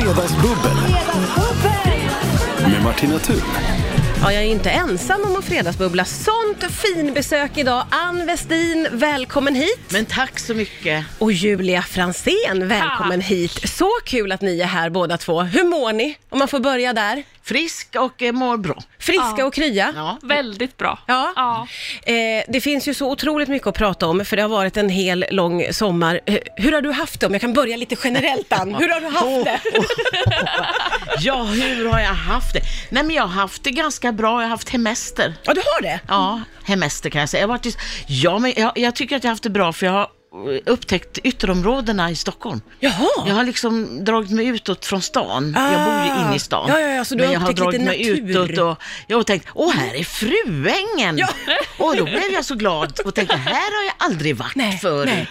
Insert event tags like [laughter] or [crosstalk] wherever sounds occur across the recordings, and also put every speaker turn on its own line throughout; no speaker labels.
Fredagsbubbel med Martina Thun.
Ja, jag är ju inte ensam om att fredagsbubbla. Sånt fin besök idag. Ann Westin, välkommen hit.
Men tack så mycket.
Och Julia Fransén, välkommen hit. Så kul att ni är här båda två. Hur mår ni? Om man får börja där.
Frisk och eh, mår bra.
Friska
Ja.
och krya.
Ja.
Väldigt bra.
Ja.
Ja.
Eh, det finns ju så otroligt mycket att prata om, för det har varit en hel lång sommar. Eh, Hur har du haft det? Om jag kan börja lite generellt, Ann. Hur har du haft det?
ja, hur har jag haft det? Nej, men jag har haft det ganska bra. Jag har haft hemester.
Ja, du har det?
Ja, hemester kan jag säga. Jag, har varit i... ja, men jag, jag tycker att jag har haft det bra för jag har eh, upptäckt ytterområdena i Stockholm.
Jaha.
Jag har liksom dragit mig utåt från stan. jag bor ju inne i stan.
Ah. Ja, ja, ja, så du
men
har
jag har
upptäckt
dragit
lite
mig
natur.
utåt och jag har tänkt, åh här är Fruängen!
Ja.
[laughs] Och då blev jag så glad och tänkte, här har jag aldrig varit
Nej,
förut.
nej.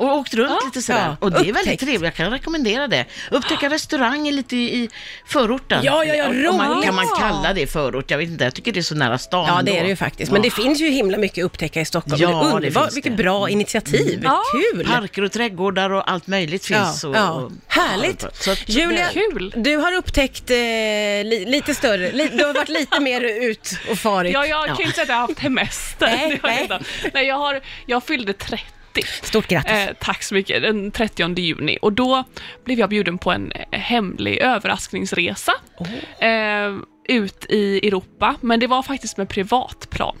Och åkt runt lite sådär.
Ja,
och det är väldigt
upptäckt.
trevligt, jag kan rekommendera det. Upptäcka restauranger lite i, i förorten.
Ja, ja, ja,
Om- om man,
roligt.
kan man kalla det förort? Jag vet inte, jag tycker det är så nära stan.
Ja, det är
då.
det ju faktiskt. Men det finns ju himla mycket att upptäcka i Stockholm.
Ja,
det är
det
underbart.
finns
Vilket
det.
bra initiativ.
Mm. Ja.
Kul!
Parker och trädgårdar och allt möjligt
Ja,
finns. och,
ja.
och,
Härligt!
Så att-
Julia,
Kul.
du har upptäckt eh, li, lite större, li, du har varit lite mer ut och farit.
Ja, jag kan ju inte säga att jag har haft hemester.
Nej,
Det har [laughs] jag,
nej.
inte. nej jag, har, jag fyllde 30.
Stort grattis!
Eh, tack så mycket, den 30 juni. Och då blev jag bjuden på en eh, hemlig överraskningsresa
Oh.
eh, ut i Europa. Men det var faktiskt med privatplan.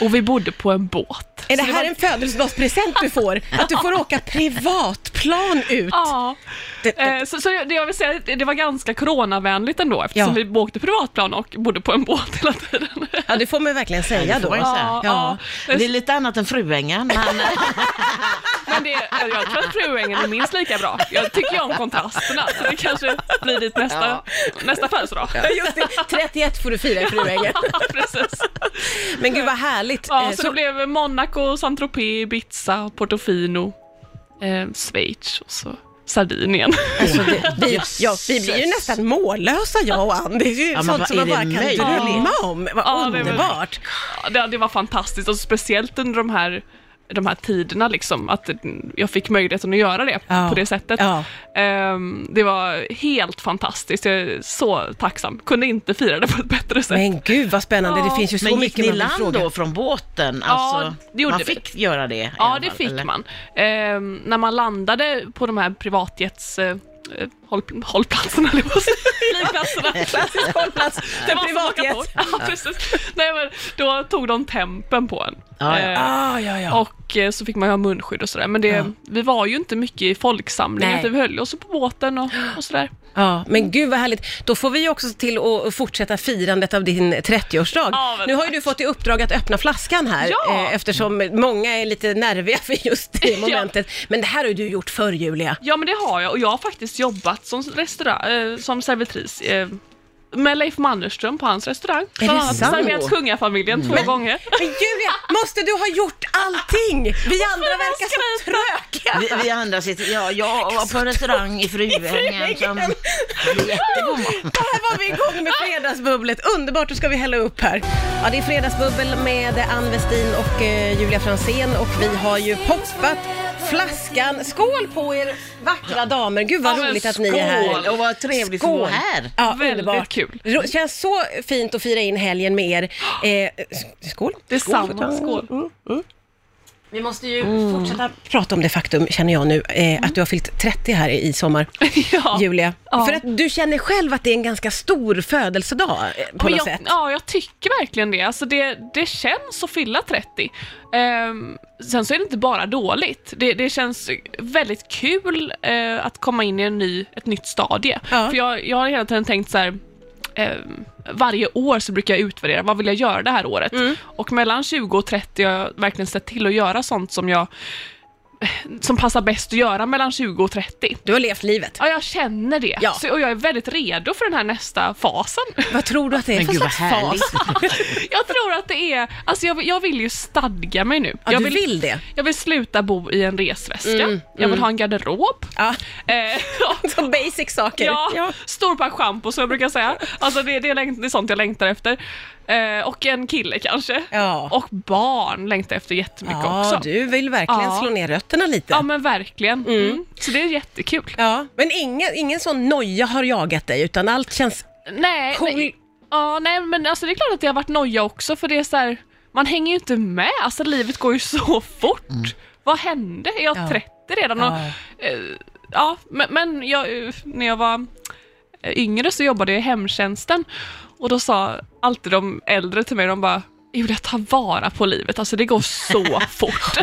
Och vi bodde på en båt.
är det
Så
här en födelsedagspresent du får? Att du får åka privatplan ut?
Ja.
Det-
Eh, Så, så det, jag vill säga, det det var ganska coronavänligt ändå eftersom
Ja.
vi åkte privatplan och bodde på en båt hela tiden.
Ja, det får man verkligen säga
det får
då.
man ju säga.
Ja, ja.
Det är lite annat än Fruängen, men
Men det, jag tror att Fruängen är minst lika bra. Jag tycker ju om kontrasterna, så det kanske blir dit nästa,
Ja.
nästa födelsedag.
Ja, Just det, 31 får du fira i Fruängen.
Precis.
Men gud vad härligt.
Ja,
Eh,
så det blev Monaco, Saint-Tropez, Ibiza, Portofino, eh, Schweiz och så Sardinien.
Alltså, det, vi,
Jösses.
ja, vi blir ju nästan mållösa jag och Ann. Det är ju
men
sånt
vad
som
är
man
det
bara kan
möjligt?
drömma om. Vad
Ja, det var-
underbart.
Ja, Det, det var fantastiskt och speciellt under de här, de här tiderna, liksom, att jag fick möjligheten att göra det
Ja.
på det sättet.
Ja.
Ehm, det var helt fantastiskt, jag är så tacksam. Kunde inte fira det på ett bättre sätt.
Men gud vad spännande, det
Ja.
finns ju så
men gick
mycket
ni
man vill
land
fråga.
då från båten? Alltså,
det gjorde
man
vi.
fick göra det? i
Ja,
alla
det
fall,
fick
eller?
man. Ehm, när man landade på de här privatjets... Eh, eh, håll, hållplatserna, eller vad säger jag? Flygplatserna.
Klassisk
[laughs]
hållplats
Det
för
var som att åka tåg.
privatjet.
Ja, precis. Nej, men då tog de tempen på en.
Ja, ja.
Ehm,
Ah, ja, ja.
Och eh, så fick man ju ha munskydd och sådär. Men det,
Ja.
vi var ju inte mycket i folksamlingar,
Nej.
utan vi höll oss på båten och, och sådär.
ja,
Mm.
men gud vad härligt. Då får vi ju också se till att fortsätta firandet av din 30-årsdag.
Ja, men
nu har ju
tack.
du fått i uppdrag att öppna flaskan här,
Ja.
eh, eftersom många är lite nerviga för just det
[laughs] Ja.
momentet. Men det här har ju du gjort förr,
[laughs]
Julia.
Ja, men det har jag. Och jag har faktiskt jobbat som, restaurang, eh, som servitris. Eh, med Leif Mannerström på hans restaurang. Bland
det
annat
sant?
serverat Kungafamiljen två gånger.
Men Julia, måste du ha gjort allting? Vi andra verkar så trökiga.
Vi, vi andra sitter, ja, jag var på restaurang i Fruängen som jättegod
[laughs]
mat.
Här var vi igång med Fredagsbubblet. Underbart, då ska vi hälla upp här. Ja, det är Fredagsbubbel med Ann Westin och eh, Julia Fransén och vi har ju poppat flaskan. Skål på er vackra damer. Gud vad
Ja, men
roligt att ni är här.
skål.
Och vad trevligt att vara här.
Ja,
Väldigt
underbart.
kul.
Ro- känns så fint att fira in helgen med er. Eh, s- skål. Mm.
Detsamma. Skål.
Vi måste ju fortsätta prata om det faktum, känner jag nu, eh, att du har fyllt 30 här i sommar,
[laughs] Mm. Ja.
Julia.
Ja.
För att du känner själv att det är en ganska stor födelsedag eh, på
Men
något
jag,
sätt.
Ja, jag tycker verkligen det. Alltså det, det känns att fylla 30. Ehm, sen så är det inte bara dåligt. Det, det känns väldigt kul eh, att komma in i en ny, ett nytt stadie.
Ja.
För jag, jag har hela tiden tänkt så här, ehm, varje år så brukar jag utvärdera, vad vill jag göra det här året?
Mm.
Och mellan 20 och 30 har jag verkligen sett till att göra sånt som jag eh, som passar bäst att göra mellan 20 och 30.
Du har levt livet.
Ja, jag känner det.
Ja.
Så, och jag är väldigt redo för den här nästa
[laughs]
fasen.
Vad tror du att det är
Men
för
gud vad
slags fas?
härligt.
[laughs]
Jag tror att det är, alltså jag, jag vill ju stadga mig nu.
Ja,
jag,
du vill Mm, det.
jag vill sluta bo i en resväska, jag vill ha en garderob.
Ja. [laughs]
Eh, [laughs] ja,
Så basic saker.
ja, stor pack schampo som jag brukar säga. Alltså det, det, är, läng- det är sånt jag längtar efter. Eh, och en kille kanske.
Ja.
Och barn längtar jag efter jättemycket
Ja,
också.
du vill verkligen
Ja.
slå ner fötterna lite.
Ja men verkligen. Mm. Så det är jättekul.
Ja, men ingen, ingen sån noja har jagat dig utan allt känns
Nej,
cool.
nej, ja, nej men alltså det är klart att det har varit noja också för det är så här, man hänger ju inte med. Alltså livet går ju [laughs] så fort. Vad hände? Är jag
Mm. Ja.
30 redan? Och,
Ja.
eh, ja, men, men jag, eh, när jag var eh, yngre så jobbade jag i hemtjänsten och då sa alltid de äldre till mig, de bara Julia, ta vara på livet, alltså det
[laughs]
går så fort.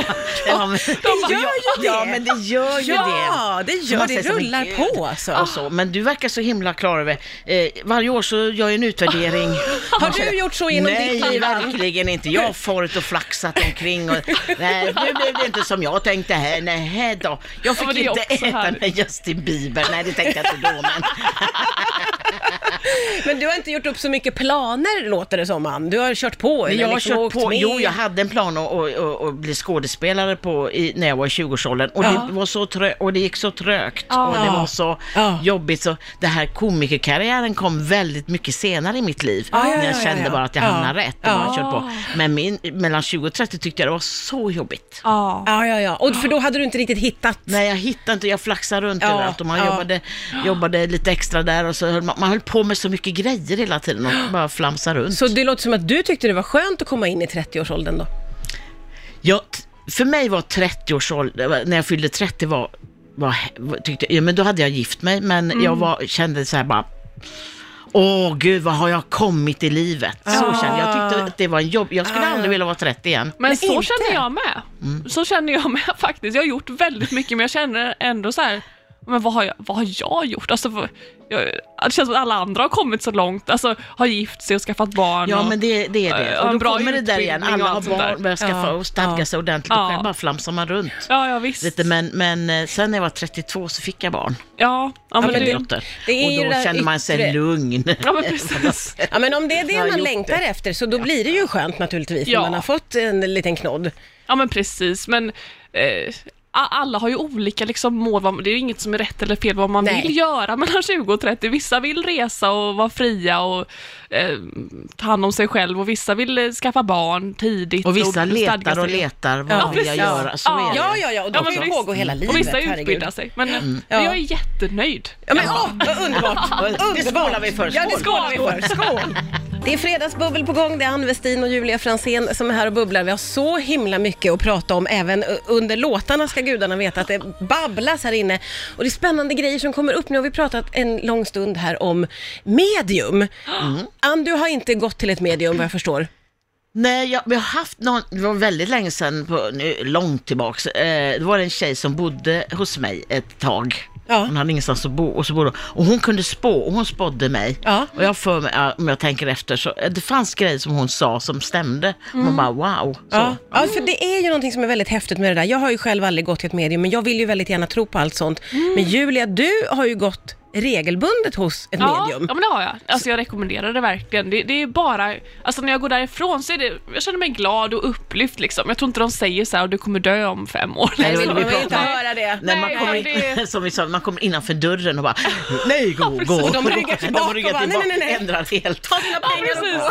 Ja, men,
Det gör ju det!
ja, men det gör ju det.
ja, det gör
Man
det.
säger så, men
rullar
gud.
på alltså.
Och så, men du verkar så himla klar över, eh, varje år så gör jag en utvärdering.
[laughs] Har du gjort så inom
Nej,
ditt liv? Ann?
verkligen inte. Jag har farit och flaxat omkring och nej, nu blev det inte som jag tänkte här. Nej då. Jag
Ja,
fick
men det är
inte
också
äta
härligt.
med Justin Bieber. Nej, det tänkte jag inte då, men
Men du har inte gjort upp så mycket planer låter det som Ann. Du har kört på.
Men
eller
jag har
liksom
kört
åkt
på,
med.
jo jag hade en plan att, att, att, att bli skådespelare på, i, när jag var i 20-årsåldern och,
Ja.
det var så trö, och det gick så trögt
Ja.
och det var så
Ja.
jobbigt så det här komikerkarriären kom väldigt mycket senare i mitt liv.
Ja, ja,
när jag
ja, ja,
kände
ja.
bara att jag
Ja.
hamnade rätt och
Ja.
bara kört på. Men min, mellan 20 och 30 tyckte jag det var så jobbigt.
ja.
Ja, ja, ja. Och för då hade du inte riktigt hittat.
Nej, jag hittade inte, jag flaxade runt
Ja,
överallt och man
ja.
jobbade, jobbade lite extra där och så höll man, man höll på med så mycket grejer hela tiden och bara flamsade runt.
Så det låter som att du tyckte det var skönt att komma in i 30-årsåldern då?
Jag, t- för mig var 30 års ålder, när jag fyllde 30 var, var, var tyckte, ja, men då hade jag gift mig, men
Mm.
jag var, kände så här bara, åh gud, vad har jag kommit i livet? Så
Ah.
kände jag, jag tyckte att det var en jobb, jag skulle aldrig vilja vara 30 igen.
Men,
Men
så
inte.
känner jag med. Så känner jag med [laughs] faktiskt. Jag har gjort väldigt mycket men jag känner ändå så här, men vad har jag, vad har jag gjort? Alltså, vad- jag, det känns som att alla andra har kommit så långt, alltså har gift sig och skaffat barn.
Ja
och,
men det, det är
Ja,
det. Och
en
då
bra
kommer det där igen,
utbildning
alla
och
har
allt sånt där.
barn, börjar skaffa
Ja,
och stadga
ja.
sig ordentligt och
Ja.
själv bara flamsar man runt.
Ja, ja visst.
Lite, men, men eh, sen när jag var 32 så fick jag barn,
Ja, ja,
jag
men
blev
det,
dotter.
det är ju
Och
det där
då kände man sig
yttre.
lugn. [laughs]
ja men precis.
Ja, men om det är
Jag har
det man
gjort
längtar
det.
efter så då blir det ju skönt naturligtvis
Ja.
när man har fått en liten knodd.
Ja men precis, men eh, a- alla har ju olika liksom, mål, vad- det är ju inget som är rätt eller fel vad man
Nej.
vill göra mellan [laughs] 20 och 30. Vissa vill resa och vara fria och eh, ta hand om sig själv och vissa vill eh, skaffa barn tidigt.
Och vissa
stadga
letar
sig.
och letar, vad
Ja,
vill jag
precis.
göra? Så
Ja.
är det. Mm.
Ja, ja, ja, och de
Ja,
får
men
ju
visst.
pågå hela livet.
Och vissa
herregud.
utbildar sig. Men men
Ja.
jag är jättenöjd.
Ja, men åh, vad
[laughs]
underbart!
Det skålar vi för.
Ja, det
Skål.
skålar vi för. Skål! Det är fredagsbubbel på gång. Det är Ann Westin och Julia Fransén som är här och bubblar. Vi har så himla mycket att prata om. Även eh, under låtarna ska gudarna veta att det babblas här inne. Och det är spännande grejer som kommer upp. Nu har vi pratat en lång stund här om medium.
Mm.
Ann, du har inte gått till ett medium vad jag förstår.
Nej, jag, vi har haft någon, det var väldigt länge sedan, på, nu, långt tillbaks, eh, det var en tjej som bodde hos mig ett tag.
Ja.
Hon hade ingenstans att bo och så bodde hon. Och hon kunde spå och hon spådde mig.
Ja.
Och jag för mig, ja, om jag tänker efter, så eh, det fanns grejer som hon sa som stämde. Man bara wow. Så.
Mm. Ja. ja, för det är ju någonting som är väldigt häftigt med det där. Jag har ju själv aldrig gått till ett medium, men jag vill ju väldigt gärna tro på allt sånt.
Mm.
Men Julia, du har ju gått regelbundet hos ett
Ja,
medium.
ja, men det har jag. Alltså jag rekommenderar det verkligen. Det, det är bara, alltså när jag går därifrån så är det, jag känner mig glad och upplyft liksom. Jag tror inte de säger så här, "Och du kommer dö om fem år.
Nej, det
vill
vill vi
man vill
prata
inte
om.
höra det.
När man
Nej,
kommer,
nej,
in, [laughs] som vi sa, man kommer innanför dörren
[laughs]
och bara, nej gå, gå.
Och de
[laughs]
ryggar tillbaka och bara, nej, nej, nej, nej.
ändrar helt.
Ja, precis.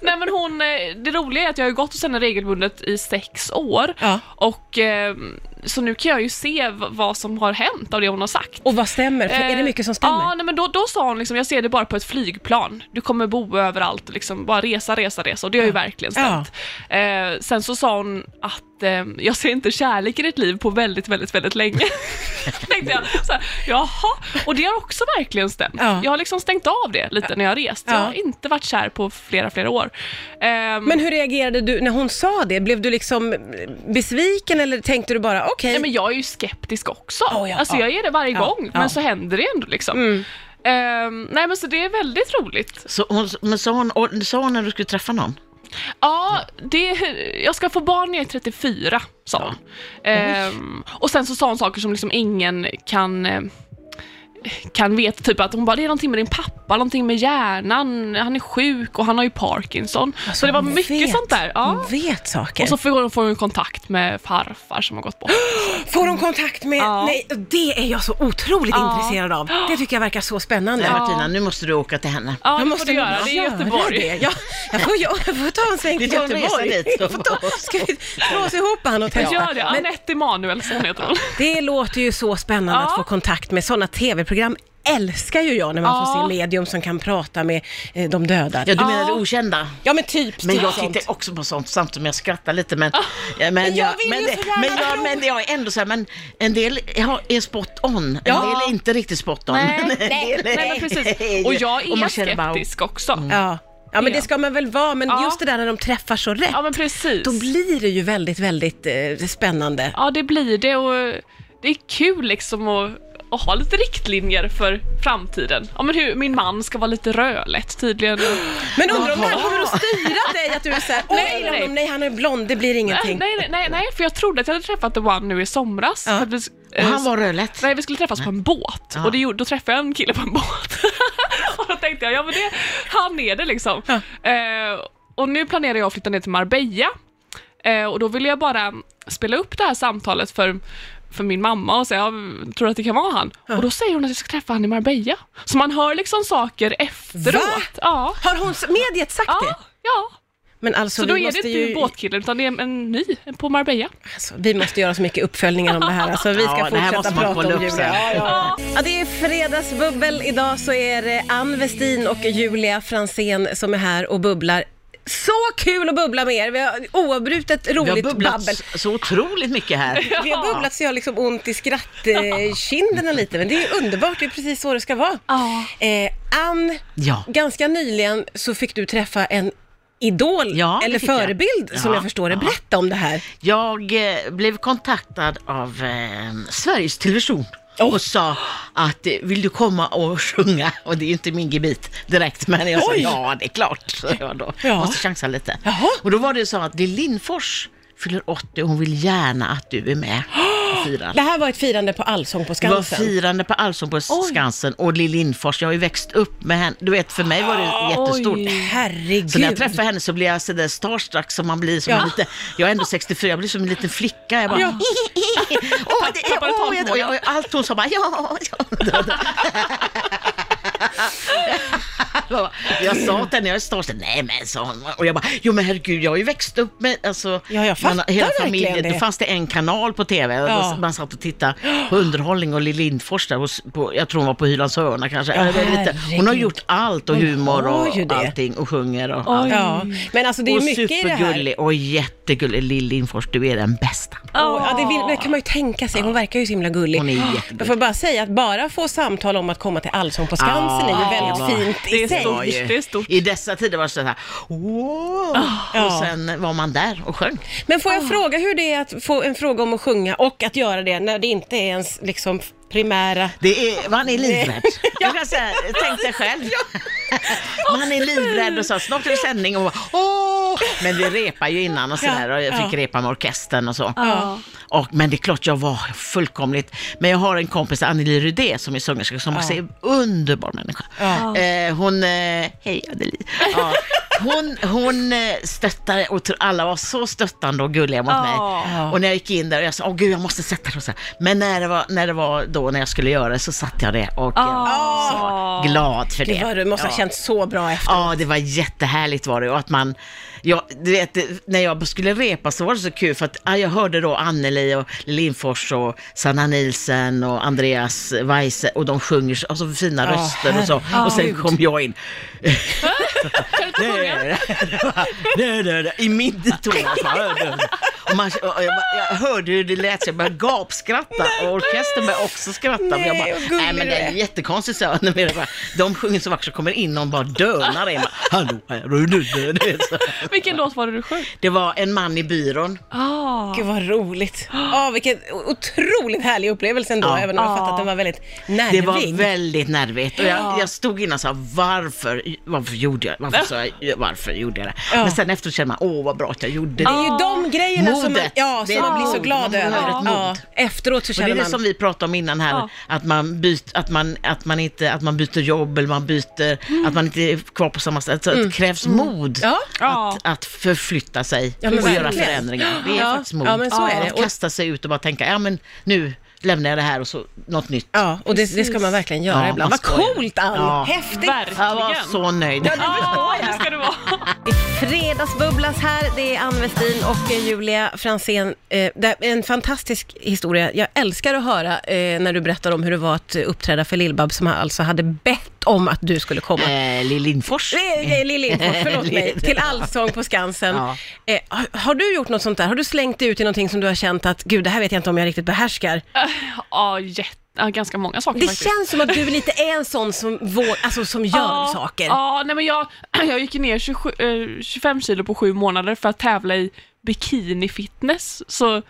[laughs]
Nej, men hon, eh, det roliga är att jag har ju gått hos henne regelbundet i sex år.
Ja.
Och, eh, så nu kan jag ju se v- vad som har hänt av det hon har sagt.
Och vad stämmer? För är det
Eh,
mycket som stämmer?
Ja, nej, men då, då sa hon liksom, jag ser det bara på ett flygplan. Du kommer bo överallt och liksom bara resa, resa, resa. Och det har ju verkligen stämt. Eh, sen så sa hon att eh, jag ser inte kärlek i ditt liv på väldigt, väldigt, väldigt länge. [laughs] Tänkte jag, så här, jaha, och det har också verkligen stämt.
Ja.
Jag har liksom stängt av det lite när jag har rest. Jag
Ja.
har inte varit kär på flera, flera år. Ehm,
Men hur reagerade du när hon sa det? Blev du liksom besviken eller tänkte du bara okej?
Nej, men jag är ju skeptisk också.
Oh, ja,
alltså
ja.
jag är det varje
Ja,
gång, men
ja. Mm.
så händer det ändå liksom. Ehm, nej men så det är väldigt roligt.
Så hon, men sa hon, och- sa hon när du skulle träffa någon?
Ja, det, jag ska få barn när jag är 34, sa hon. Ehm, och sen så sa hon saker som liksom ingen kan eh, kan veta typ att hon bara, det är någonting med din pappa, någonting med hjärnan, han är sjuk och han har ju Parkinson. så det var
Alltså, Hon
mycket
vet.
sånt där. Ja.
Hon vet saker.
Och så får hon, får hon kontakt med farfar som har gått bort.
Får de kontakt med...
Ja.
Nej, det är jag så otroligt
Ja.
intresserad av. Det tycker jag verkar så spännande.
Nej, Martina, nu måste du åka till henne.
Ja, det
Jag
måste får du göra. Det är i
göra
Göteborg.
det. Ja, jag, får, jag, jag får ta en sväng till
Vi tar en resa
Göteborg.
dit.
Jag får ta, ska vi dra oss ihop på något
Jag
ja.
gör det. Anette Emanuelsson heter hon.
Det låter ju så spännande
Ja.
att få kontakt med sådana tv-program. Älskar ju jag när man
Ja.
får se medium som kan prata med eh, de döda.
Ja, du
Ja.
menar det okända?
Ja men typ.
Men
typ
jag
sånt. Ah,
tittar också på sånt samtidigt som jag skrattar lite. Men, ja, men,
Men jag
jag,
vill
men,
ju
det-
så gärna
men, jag,
tro.
men jag är ändå så här, men en del har- är spot on, en
Ja.
del är inte riktigt spot on.
Nej,
men en
nej,
del är-
nej, men precis. Och jag
Och
är
man känner bara,
skeptisk också.
Ja. ja men det ska man väl vara, men
Ja.
just det där när de träffar så rätt.
Ja, men precis.
Då blir det ju väldigt, väldigt eh, spännande.
Ja, det blir det och det är kul liksom att, att ha lite riktlinjer för framtiden. Ja, men hur min man ska vara lite rödlätt tydligen.
Men undrar om det här kommer att styra dig att du är såhär,
Nej,
nej,
nej.
nej. nej han är blond, det blir
Nej,
ingenting.
Äh, nej, nej, nej, för jag trodde att jag hade träffat The One nu i somras.
Ja.
För Att vi,
Och
eh,
han var rödlätt.
Nej, vi skulle träffas på en båt
Ja.
och det gjorde, då träffade jag en kille på en båt. [laughs] och då tänkte jag, ja men det, han är det liksom. Eh, och nu planerar jag att flytta ner till Marbella. Eh, och då ville jag bara spela upp det här samtalet för, för min mamma och säga, ja, tror du att det kan vara han? Och då säger hon att jag ska träffa han i Marbella. Så man hör liksom saker efteråt.
Va?
Ja.
Har hon, s- mediet sagt
Ja,
det?
ja,
Men alltså,
så då
vi,
är det
måste
inte
ju,
båtkillen utan det är en ny på Marbella.
alltså, vi måste göra så mycket uppföljningar om det här. Alltså, vi ska
Ja, det här
fortsätta
måste man
prata om
kolla upp
Julia.
sen.
Ja, ja. ja, det är fredagsbubbel. Idag så är det Ann Westin och Julia Fransén som är här och bubblar. Så kul att bubbla med er! Vi har oavbrutet
Vi har
roligt
bubblat
babbel.
så otroligt
[laughs]
mycket här.
Vi har bubblat så jag har liksom ont i skrattkinderna
Mm.
lite, men det är underbart, det är precis så det ska vara.
Ja.
Eh, Ann,
Ja.
ganska nyligen så fick du träffa en idol,
Ja, det
eller
fick jag.
förebild som
Ja,
jag förstår det.
ja.
Berätta om det här.
Jag eh, blev kontaktad av eh, Sveriges Television och sa att eh, vill du komma och sjunga? Och det är ju inte min gebit direkt, men jag sa
Oj.
ja, det är klart. Så jag då
Ja.
måste chansa lite.
Jaha.
Och då var det så att det är Lindfors fyller 80 och hon vill gärna att du är med
[gasps]
och firar.
Det här var ett firande på Allsång på
Det var
Skansen.
firande på Allsång på Skansen och Lill Lindfors, jag har ju växt upp med henne. Du vet, för mig var det jättestort.
Oj.
Herregud.
Så när jag träffar henne så blir jag sådär starstruck som man blir som
Ja.
en liten, jag är ändå 64, jag blir som en liten flicka. Jag bara,
Ja.
åh, det är,
Tappade
åh, jag, och
talförmågan.
jag, allt hon sa bara, ja, ja. Jag bara, [laughs] Jag sa till henne, jag är starstruck, nej men sa hon. Och jag bara, jo men herregud, jag har ju växt upp med, alltså,
Ja, jag
man-
fattar
hela
verkligen
familjen,
det.
då fanns det en kanal på TV, och
Ja.
man satt och tittade på underhållning och Lill Lindfors där, hos, på, jag tror hon var på Hylands hörna kanske.
Ja,
Jag vet inte. hon har
herregud.
gjort allt och
Hon
humor
har ju
och
det.
allting och sjunger och allt.
Oj.
Ja, men alltså det är ju
och
mycket i det här.
supergullig och jättegullig Lill Lindfors, du är den bästa.
Åh, Ja, det, vill, det kan man ju tänka sig, hon verkar ju så himla gullig.
Hon är
Jag
jättegullig.
får bara säga att bara få samtal om att komma till Allsång på Skansen är
Ja,
ju
Ah, det
väldigt
var-
fint i
det är
sig.
stort. Det är stort. Ah,
I dessa tider var det så här, wow.
Ja.
Och sen var man där och sjöng.
Men får jag fråga hur det är att få en fråga om att sjunga och att göra det när det inte är ens liksom primära...
Det är, man är
[laughs]
livrädd. Jag kan säga, tänk dig själv. Man är livrädd och så, snart är det sändning och bara, åh! Men vi repar ju innan och sådär och jag fick
Ja.
repa med orkestern och så. Och, men det är klart jag var fullkomligt, men jag har en kompis, Anneli Rydé, som är sångerska, som också är en underbar människa.
Ja.
Eh, hon, eh, hej Anneli. Ja. [laughs] Hon, hon eh, stöttade och tro- alla var så stöttande och gulliga mot
Ja.
mig.
Ja.
Och när jag gick in där och jag sa, åh gud jag måste sätta det och så här. Men när det, var, när det var då när jag skulle göra det så satte jag det och jag var så glad för det.
Gud vad du måste ha
Ja.
känts så bra efter.
Ja, det var jättehärligt var det. Och att man, ja, du vet, det- när jag skulle repa så var det så kul för att ja, jag hörde då Anneli och Lindfors och Sanna Nilsen och Andreas Weise och de sjunger så alltså, fina
Ja,
röster och så. Och sen
herregud.
kom jag in.
Kan du inte sjunga?
Nej, [laughs] nej, nej, I min ton. alltså. Och man, och jag, bara- jag hörde hur det lät så jag började gapskratta och orkestern började också skratta. Men jag
Nej, vad
bara,
gullig
nej men
du
det är
är."
jättekonstigt. Så jag, när vi bara, de sjunger så vackert så kommer in någon bara dönar en. bara, Hallå, här är du, du, du. Så.
Vilken låt var det du sjöng?
Det var en man i byrån.
Ah.
Gud vad roligt. Ja, vilken otroligt härlig upplevelse ändå,
Ja.
även om jag
Ja.
fattar att den var väldigt
Det
nervig.
var väldigt nervigt och
Ja.
jag, jag stod innan och sa varför, varför gjorde jag, varför, sa jag, varför gjorde jag det?
Ja.
Men sen efteråt kände man, åh vad bra att jag gjorde
det
det.
är ju de grejerna som man,
modet.
ja,
Det
som
är
man
ett
blir så
mod.
glad
Man behöver
över.
ett mod.
Ja, efteråt så
Och det
känner
är det
man...
som vi pratade om innan här,
Ja.
att, man byt, att, man, att, man inte, att man byter jobb eller man byter, att man inte är kvar på samma ställe. Så det krävs mod
Mm. Ja.
Ja.
att, att förflytta sig
Ja,
och
men
göra
verkligen.
förändringar. Det är
Ja.
faktiskt mod.
Ja, men så är det.
Att
Och-
kasta sig ut och bara tänka, ja men nu lämnar jag det här och så något nytt.
Ja, och det, det ska man verkligen göra
Ja,
ibland.
man
Vad
ska göra det.
coolt Ann!
Ja.
Häftigt!
Verkligen.
Jag var så nöjd.
Ja, det ska det vara.
Fredagsbubblas här, det är Ann Westin och eh, Julia Fransén. Eh, det är en fantastisk historia. Jag älskar att höra eh, när du berättar om hur det var att eh, uppträda för Lill-Babs som alltså hade bett om att du skulle komma.
Eh, Lill Lindfors.
Nej, Lill Lindfors, förlåt mig,
Lill-
till Allsång på Skansen.
Ja.
Eh, har- har du gjort något sånt där? Har du slängt dig ut i någonting som du har känt att, gud, det här vet jag inte om jag riktigt behärskar?
Ja, jätte, ja, ganska många saker
Det
faktiskt.
känns som att du lite är en sån som, vår, alltså, som gör
ja,
saker.
Ja, nej men jag, [clears throat] jag gick ner 27, eh, 25 kilo på sju månader för att tävla i bikinifitness. Så eh,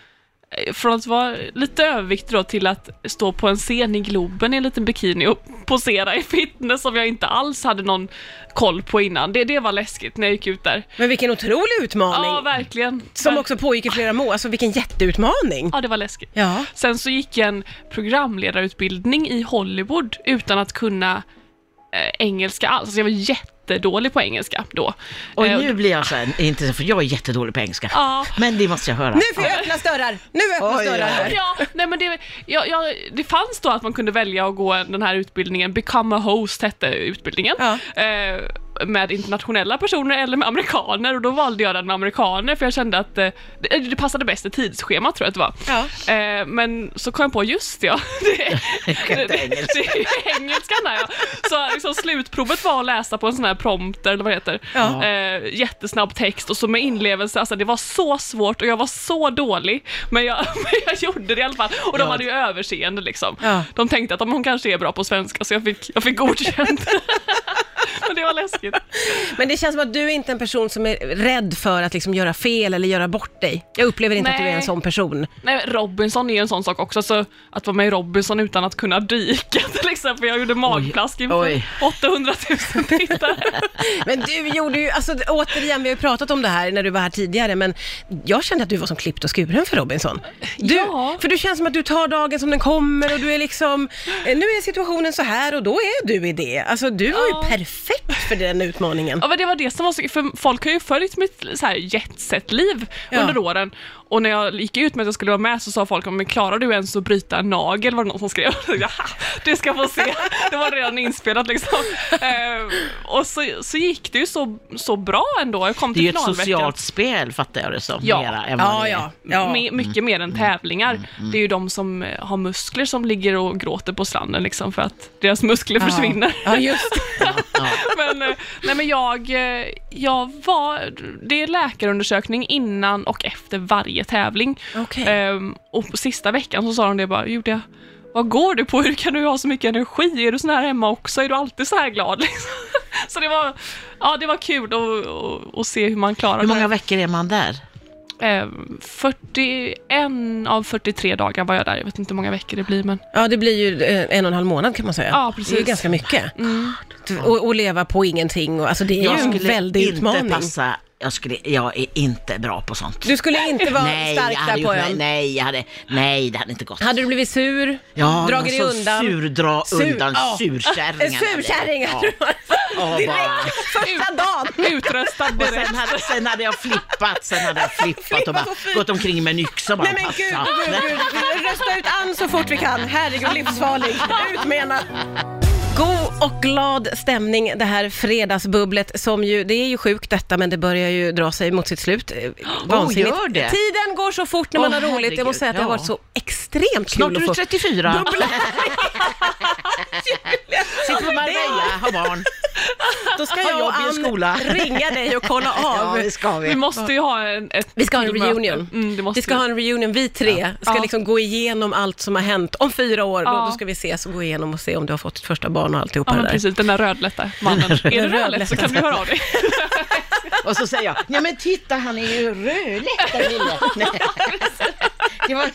från att vara lite överviktig då till att stå på en scen i Globen i en liten bikini och posera i fitness som jag inte alls hade någon koll på innan. Det, det var läskigt när jag gick ut där.
Men vilken otrolig utmaning!
Ja, verkligen.
som
Ver-
också pågick i flera månader, alltså vilken jätteutmaning!
Ja, det var läskigt.
Ja.
Sen så gick jag en programledarutbildning i Hollywood utan att kunna eh, engelska alls. Alltså jag var jättedålig på engelska då.
Och
Eh,
nu blir jag så här, inte så- för jag är jättedålig på engelska.
Ja.
Men det måste jag höra.
Nu får jag öppnas dörrar! Nu öppnas
Oj,
dörrar
oj,
här!
Ja, nej men det, ja, ja, det fanns då att man kunde välja att gå den här utbildningen, Become a host hette utbildningen,
Ja.
eh, med internationella personer eller med amerikaner och då valde jag den med amerikaner för jag kände att eh, det, det passade bäst i tidsschemat tror jag att det var.
Ja.
Eh, men så kom jag på, just det, ja, [laughs]
[laughs]
det,
kan inte engelska.
det är ju engelskan där ja. Så liksom, slutprovet var att läsa på en sån här prompter eller vad det heter.
Ja.
Eh, jättesnabb text och så med inlevelse, alltså det var så svårt och jag var så dålig. Men jag, [laughs] men jag gjorde det i alla fall. Och de
Ja.
hade ju överseende liksom.
Ja.
De tänkte att "Ja, men hon kanske är bra på svenska så jag fick, jag fick godkänt. [laughs] men det var läskigt.
Men det känns som att du är inte är en person som är rädd för att liksom göra fel eller göra bort dig. Jag upplever inte att du är
Nej.
en sån person.
Nej, Robinson är ju en sån sak också, så att vara med i Robinson utan att kunna dyka [laughs] till exempel. Jag gjorde magplask inför
oj.
800
[laughs]
000 tittare.
Men du gjorde ju, alltså återigen, vi har ju pratat om det här när du var här tidigare, men jag kände att du var som klippt och skuren för Robinson. Du,
Ja.
För du känns som att du tar dagen som den kommer och du är liksom, eh, nu är situationen så här och då är du i det. Alltså du var ju perfekt för den utmaningen.
Ja, men det var det som var så, för folk har ju följt mitt så här jetset-liv
Ja.
under åren. Och när jag gick ut med att jag skulle vara med så sa folk, men klarar du ens att bryta en nagel? Var det någon som skrev. [laughs] Ja, du ska få se. Det var redan inspelat
[laughs]
liksom. Eh, och så, så gick det ju så, så bra ändå. Jag kom
Det är
till
ju ett
finalveckan.
socialt spel fattar jag det som.
Ja.
Mera än vad
Ja,
det är.
ja, ja. Mm.
Me- mycket mer än tävlingar. Det är ju de som eh, har muskler som ligger och gråter på stranden liksom för att deras muskler försvinner. [laughs]
Ja, just det.
men, eh, nej men jag, eh, jag var, det är läkarundersökning innan och efter varje tävling.
Okej.
Ehm, och på sista veckan så sa de det bara, gjorde jag vad går du på? Hur kan du ha så mycket energi? Är du sån här hemma också? Är du alltid så här glad? [laughs] Liksom. Så det var, ja, det var kul att- att- att se hur man klarar
Hur många
det.
veckor är man där?
Ehm, 41 av 43 dagar var jag där. Jag vet inte hur många veckor det blir, men
Ja, det blir ju eh, en och en halv månad kan man säga.
Ja, precis.
Det är ju ganska mycket.
Mm.
Och, och leva på ingenting, och, alltså det är ju en väldig
inte
utmaning.
passa, jag, skulle, jag är inte bra på sånt.
Du skulle inte vara
nej, jag
stark
hade
där på
gjort,
ön.
nej, nej, jag hade, nej, det hade inte gått.
Hade du blivit sur?
Ja, alltså,
dragit dig
någon sån
undan?
Sur,
[laughs]
dra
Sur-
undan
ja. En [laughs]
surkärring.
surkärring
hade jag
hade
blivit.
du varit. [laughs] Direkt första dagen!
[laughs]
utröstad
Ja. Och sen
direkt.
hade, sen hade jag flippat, sen hade jag flippat och bara
så fint.
gått omkring med en yxa och bara
Nej men gud,
passa.
gud, gud, gud. rösta ut Ann så fort vi kan. Herregud, livsfarlig. Ut med henne. God och glad stämning det här fredagsbubblet som ju, det är ju sjukt detta men det börjar ju dra sig mot sitt slut.
[gasps]
Eh,
gör det?
Tiden går så fort när man har
Åh,
roligt. Jag
herregud,
måste säga att det har
ja.
varit så extremt
Snart
kul
är du
att få
34.
bubbla. [laughs]
Sitter på Marbella, har barn.
Då ska
Ha
jag och
jobb i en skola.
Ann ringa dig och kolla
[laughs] Ja,
av.
det ska
Vi
vi.
måste ju ha en, ett
Vi ska ha en
möte.
reunion.
Mm, det måste
vi ska ha en reunion, vi tre ska
Ja.
liksom gå igenom allt som har hänt. Om fyra år, då,
Ja.
då ska vi ses och gå igenom och se om du har fått ditt första barn och alltihopa
Ja
det
men
där.
precis, den där rödlätta
[laughs]
mannen. Är du rödlätt så kan du höra av dig.
[laughs] Och så säger jag, ja men titta han är ju rödlätt den lille. Nej. Det var...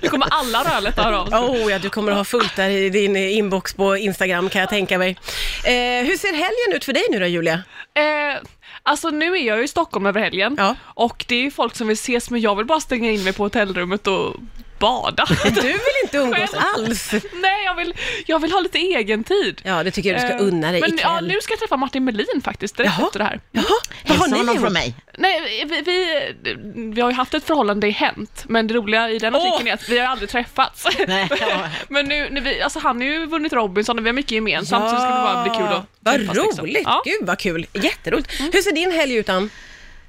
Nu kommer alla rödlätta höra av sig.
Oh ja, du kommer att ha fullt där i din inbox på Instagram kan jag tänka mig. Eh, hur ser helgen ut för dig nu då Julia?
Eh, alltså nu är jag ju i Stockholm över helgen
Ja.
och det är ju folk som vill ses men jag vill bara stänga in mig på hotellrummet och
[laughs]
bada.
Du vill inte umgås
Själv.
alls.
Nej, jag vill, jag vill ha lite egen tid.
Ja, det tycker jag du ska
Eh,
unna dig
men, ja,
ikväll.
nu ska jag träffa Martin Melin faktiskt direkt
Jaha.
efter det här.
Jaha, vad har
Hälsa honom
ni
från
gjort?
mig.
Nej, vi, vi, vi har ju haft ett förhållande i Hänt, men det roliga i den
Åh!
artikeln är att vi har aldrig träffats.
Nej, ja.
[laughs] men nu, när vi, alltså han har ju vunnit Robinson och vi har mycket gemensamt så det skulle bara bli kul att
Ah, Vad
träffas, liksom.
roligt!
Ja. Mm.
Gud vad kul! Jätteroligt! Hur ser din helg ut Ann?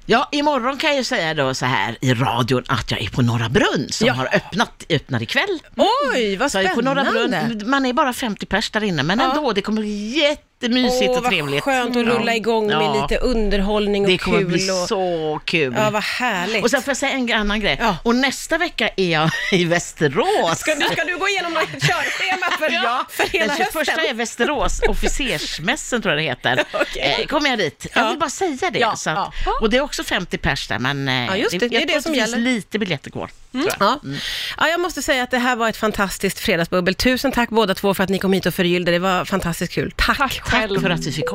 Ja, imorgon kan jag ju säga då så här i radion att jag är på Norra Brunn som
Ja.
har öppnat, öppnar ikväll.
Mm.
Oj, vad
Så jag är på Norra
spännande!
Brunn, man är bara 50 pers där inne, men
Ja.
ändå, det kommer bli jättemysigt
Åh,
och trevligt.
vad skönt att rulla igång med
Ja.
lite underhållning och
Det kommer
kul.
bli
och...
så kul.
Ja, vad härligt!
och sen får jag säga en annan grej.
Ja.
Och nästa vecka är jag i Västerås.
Ska, nu ska du gå igenom något [laughs] körschema för,
Ja,
för hela
den 21
hösten?
är Västerås, officersmässan tror jag det heter.
[laughs] Okej.
Eh, kommer jag dit. Jag
Ja.
vill bara säga det.
Ja,
så att,
ja.
Och det är också 50 pers där, men eh,
Ja, just det.
jag
Det är
tror
det
att
som
det finns
gäller.
lite biljetter kvar.
Ja. Mm.
Mm.
ja, jag måste säga att det här var ett fantastiskt fredagsbubbel. Tusen tack båda två för att ni kom hit och förgyllde. Det var fantastiskt kul. Tack!
Tack själv.
Tack för att vi fick komma.